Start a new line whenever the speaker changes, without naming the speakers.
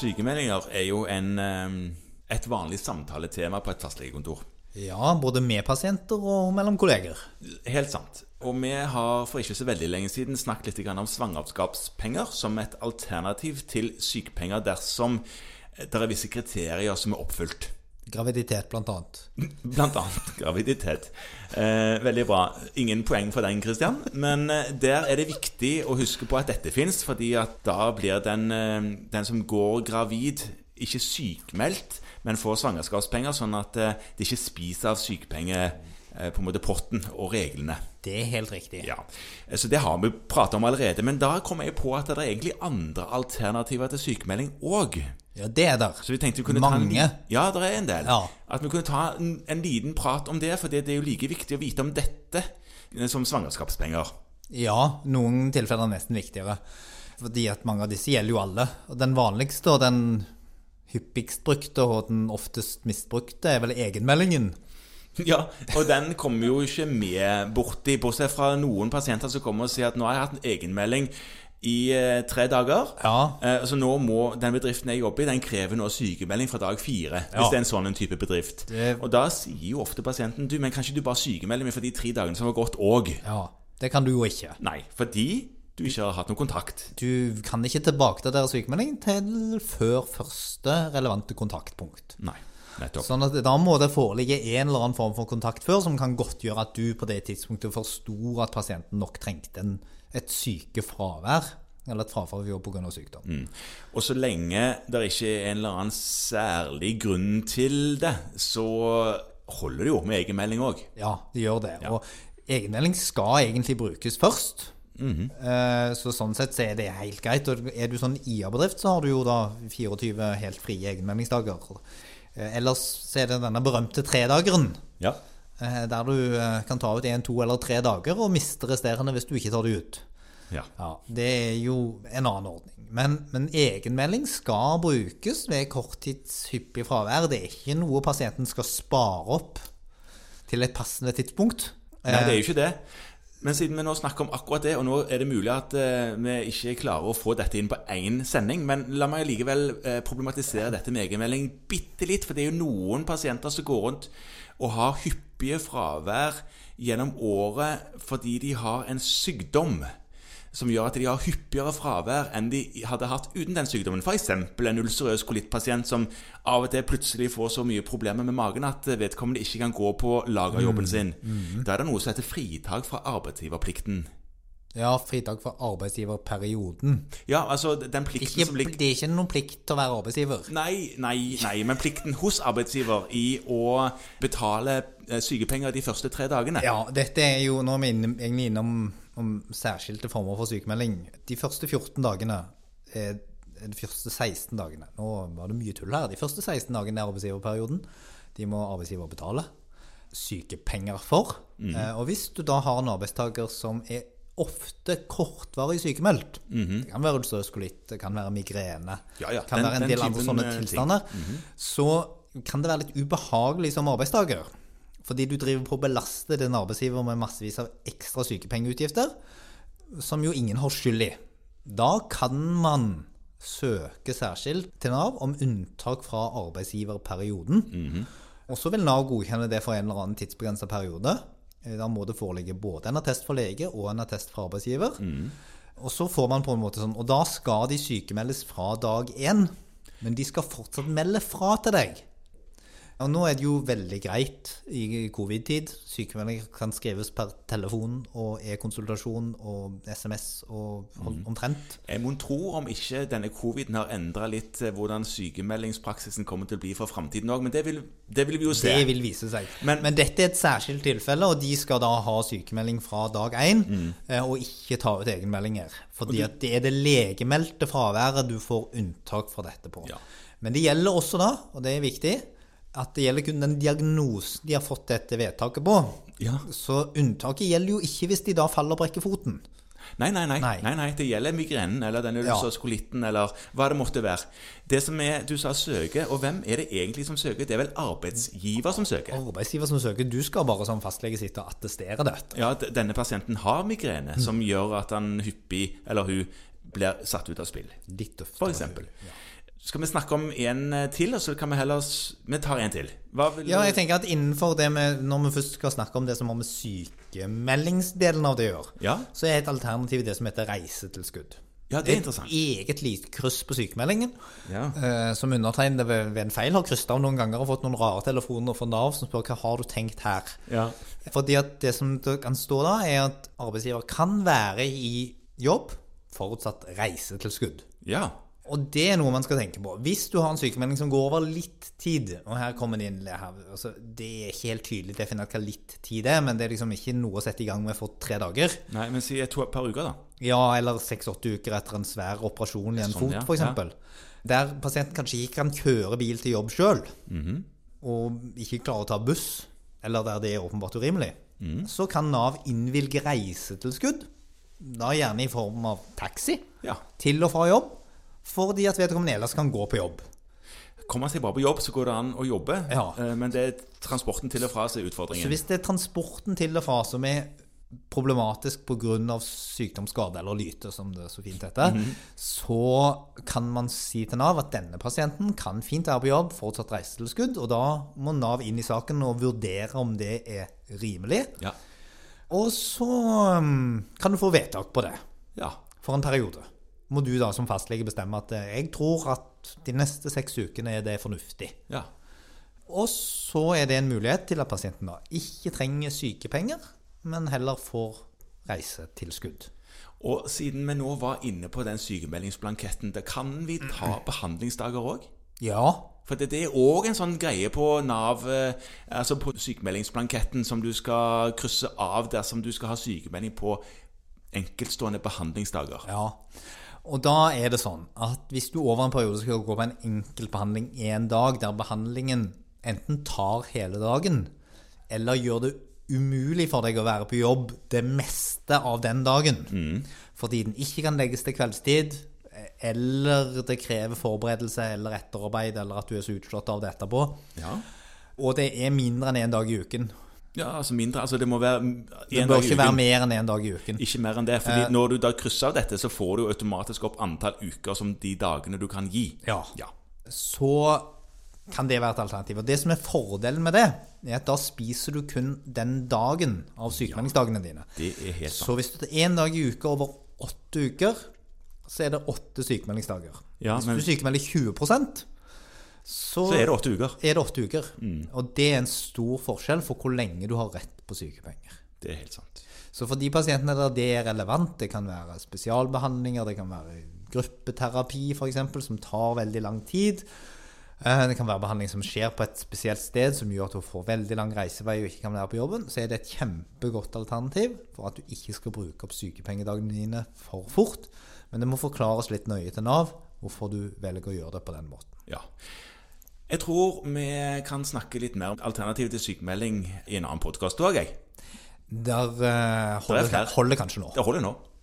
Sykemeldinger er jo en, eh, et vanlig samtaletema på et fastlegekontor.
Ja, både med pasienter og mellom kolleger.
Helt sant. Og vi har for ikke så veldig lenge siden snakket litt grann om svangerskapspenger som et alternativ til sykepenger dersom det er visse kriterier som er oppfylt.
Graviditet, blant annet.
Blant annet graviditet. Eh, veldig bra. Ingen poeng for den, Christian. Men eh, der er det viktig å huske på at dette fins, fordi at da blir den, eh, den som går gravid, ikke sykmeldt, men får svangerskapspenger, sånn at eh, det ikke spiser av sykepenger eh, på en måte potten og reglene.
Det er helt riktig.
Ja, eh, Så det har vi prata om allerede. Men da kom jeg på at det er egentlig andre alternativer til sykemelding òg.
Ja, det er der.
Så vi tenkte vi kunne ta en
Mange.
li- Ja, det er en del.
Ja.
At vi kunne ta en, en liten prat om det, for det, det er jo like viktig å vite om dette eh, som svangerskapspenger.
Ja, noen tilfeller er nesten viktigere. Fordi at mange av disse gjelder jo alle. Og den vanligste og den hyppigst brukte og den oftest misbrukte er vel egenmeldingen.
Ja, og den kommer jo ikke med borti, bortsett fra noen pasienter som kommer og sier at nå har jeg hatt en egenmelding i eh, tre dager.
Ja.
Eh, Så nå må den bedriften jeg jobber i, den krever nå sykemelding fra dag fire.
Ja.
Hvis det er en sånn en type bedrift.
Det-
Og da sier jo ofte pasienten du, men kan ikke du bare sykemelder meg for de tre dagene som har gått òg?
Ja, det kan du jo ikke.
Nei, fordi du ikke har hatt noen kontakt.
Du kan ikke tilbakedatere sykemelding til før første relevante kontaktpunkt.
Nei, nettopp.
Sånn at da må det foreligge en eller annen form for kontakt før som kan godtgjøre at du på det tidspunktet forsto at pasienten nok trengte en, et sykefravær, eller et frafall pga. sykdom.
Mm. Og så lenge det ikke er en eller annen særlig grunn til det, så holder det jo med egenmelding òg.
Ja, det gjør det. Og egenmelding skal egentlig brukes først. Eh, Så sånn sett så er det helt greit. Og er du sånn IA-bedrift, så har du jo da 24 helt frie egenmeldingsdager. Eh, Ellers så er det denne berømte tredageren.
Ja.
eh, Der du eh, kan ta ut én, to eller tre dager og miste resterende hvis du ikke tar det ut.
ja.
Ja, Det er jo en annen ordning. Men, men egenmelding skal brukes ved korttidshyppig fravær. Det er ikke noe pasienten skal spare opp til et passende tidspunkt.
Nei, det er jo ikke det. Men siden vi nå snakker om akkurat det, og nå er det mulig at eh, vi ikke klarer å få dette inn på én sending, men la meg likevel eh, problematisere dette med egenmelding bitte litt. For det er jo noen pasienter som går rundt og har hyppige fravær gjennom året fordi de har en sykdom. som gjør at de har hyppigere fravær enn de hadde hatt uten den sykdommen. F.eks. en ulcerøs kolittpasient som av og til plutselig får så mye problemer med magen at vedkommende ikke kan gå på
Mm.
lagerjobben sin. Da er det noe som heter fritak fra arbeidsgiverplikten.
Eh, Ja, fritak for arbeidsgiverperioden.
Ja, altså den plikten
Ikke,
som ligger
det er ikke noen plikt til å være arbeidsgiver.
Nei, nei, nei, men plikten hos arbeidsgiver i å betale eh, sykepenger de første tre dagene.
Ja, dette er jo Nå er vi inne, egentlig innom om særskilte former for sykemelding. De første 14 dagene er de første 16 dagene. Nå var det mye tull her. De første 16 dagene er arbeidsgiverperioden. De må arbeidsgiver betale sykepenger for. Eh, Og hvis du da har en arbeidstaker som er ofte kortvarig sykemeldt Det kan være ulcerøs kolitt, det kan være migrene,
Ja, ja,
det kan
den-
være en
den
del
typen,
andre
eh,
sånne
ting.
tilstander. Så kan det være litt ubehagelig som arbeidstaker. Fordi du driver på å belaste din arbeidsgiver med massevis av ekstra sykepengeutgifter, som jo ingen har skyld i. Da kan man søke særskilt til Nav om unntak fra arbeidsgiverperioden. Og så vil Nav godkjenne det for en eller annen tidsbegrensa periode. Eh, Da må det foreligge både en attest for lege og en attest fra arbeidsgiver. Og så får man på en måte sånn, og da skal de sykemeldes fra dag én, men de skal fortsatt melde fra til deg. Og nå er det jo veldig greit i covid-tid. Sykemeldinger kan skrives per telefon og e-konsultasjon og SMS og om- omtrent.
Jeg mon tro om ikke denne coviden har endra litt eh, hvordan sykemeldingspraksisen kommer til å bli for framtiden òg, men det vil, det vil vi jo se.
Det vil vise seg.
Men-
Men, dette er et særskilt tilfelle, og de skal da ha sykemelding fra dag én, eh, og ikke ta ut egenmeldinger. Fordi at det er det legemeldte fraværet du får unntak fra dette på.
Ja.
Men det gjelder også da, og det er viktig, at det gjelder kun den diagnosen de har fått dette vedtaket på.
Ja.
Så unntaket gjelder jo ikke hvis de da faller og brekker foten.
Nei nei nei. nei,
Nei.
nei, det gjelder migrenen eller den ulcerøse kolitten eller hva det måtte være. Det som er, Du sa søke, og hvem er det egentlig som søker? Det er vel arbeidsgiver som søker?
Arbeidsgiver som søker, du skal bare som fastlege sitte og attestere dette.
Ja, d- Denne pasienten har migrene, som gjør at han hyppig, eller hun, blir satt ut av spill.
Litt tøft.
For eksempel. Skal vi snakke om en eh, til, og så kan vi heller s- Vi tar en til. Hva vil
Ja, jeg tenker at innenfor det med Når vi først skal snakke om det som har med sykemeldingsdelen av det å gjøre,
Ja.
så er et alternativ det som heter reisetilskudd.
ja, det er interessant.
Et eget lite kryss på sykemeldingen,
Ja.
eh, som undertegnede ved, ved en feil har krysset av noen ganger og fått noen rare telefoner fra Nav som spør hva har du tenkt her.
Ja.
Fordi at det som det kan stå da, er at arbeidsgiver kan være i jobb forutsatt reisetilskudd.
ja.
Og det er noe man skal tenke på. Hvis du har en sykemelding som går over litt tid Og her kommer det inn det her, altså, Det er ikke helt tydelig definert hva litt tid er, men det er liksom ikke noe å sette i gang med for tre dager.
Nei, men si et to- par uker, da.
Ja, eller seks-åtte uker etter en svær operasjon i en
Sånn,
fot,
ja,
for eksempel. Der pasienten kanskje ikke kan kjøre bil til jobb sjøl,
Mhm.
og ikke klarer å ta buss, eller der det er åpenbart urimelig,
Mhm.
så kan Nav innvilge reisetilskudd, da gjerne i form av taxi,
Ja.
til og fra jobb, fordi at vedkommende ellers kan gå på jobb.
Kommer man seg bare på jobb, så går det an å jobbe.
Ja.
Eh, Men det er transporten til og fra som er
Så
utfordringen.
hvis det er transporten til og fra som er problematisk pga. sykdom, skade eller lyte, som det så fint heter, så kan man si til Nav at denne pasienten kan fint være på jobb, forutsatt reisetilskudd, og da må Nav inn i saken og vurdere om det er rimelig.
Ja.
Og så mm, kan du få vedtak på det
ja.
for en periode. Må du da som fastlege bestemme at eh, jeg tror at de neste seks ukene er det fornuftig.
Ja.
Og så er det en mulighet til at pasienten da ikke trenger sykepenger, men heller får reisetilskudd.
Og siden vi nå var inne på den sykemeldingsblanketten, da kan vi ta behandlingsdager òg?
Ja.
For det, det er òg en sånn greie på Nav, eh, altså på sykemeldingsblanketten, som du skal krysse av dersom du skal ha sykemelding på enkeltstående behandlingsdager.
ja. Og da er det sånn at hvis du over en periode skal gå på en enkel behandling én dag, der behandlingen enten tar hele dagen, eller gjør det umulig for deg å være på jobb det meste av den dagen, fordi den ikke kan legges til kveldstid, e-, eller det krever forberedelse eller etterarbeid, eller at du er så utslått av det etterpå,
Ja.
Og det er mindre enn én dag i uken.
ja, altså mindre Altså det må være mm,
Det
en
bør
dag i
ikke være
uken.
mer enn én dag i uken.
Ikke mer enn det. fordi når du da krysser av dette, så får du jo automatisk opp antall uker som de dagene du kan gi.
Ja.
Ja.
Så kan det være et alternativ. Og det som er fordelen med det, er at da spiser du kun den dagen av sykemeldingsdagene dine.
Det er helt sant.
Så hvis du tar én dag i uka over åtte uker, så er det åtte sykemeldingsdager.
Ja,
hvis
men-
du sykemelder 20 så,
Så er det Mm. åtte uker.
er det åtte uker. Og det er en stor forskjell for hvor lenge du har rett på sykepenger.
Det er helt sant.
Så for de pasientene der det er relevant, det kan være spesialbehandlinger, det kan være gruppeterapi f.eks., som tar veldig lang tid. eh, Det kan være behandling som skjer på et spesielt sted, som gjør at du får veldig lang reisevei og ikke kan være på jobben. Så er det et kjempegodt alternativ for at du ikke skal bruke opp sykepengedagene dine for fort. Men det må forklares litt nøye til Nav hvorfor du velger å gjøre det på den måten.
Ja. Jeg tror vi kan snakke litt mer om alternativ til sykemelding i en annen podkast òg, jeg.
Der eh, holder,
flere.
holder kanskje nå.
Det holder nå.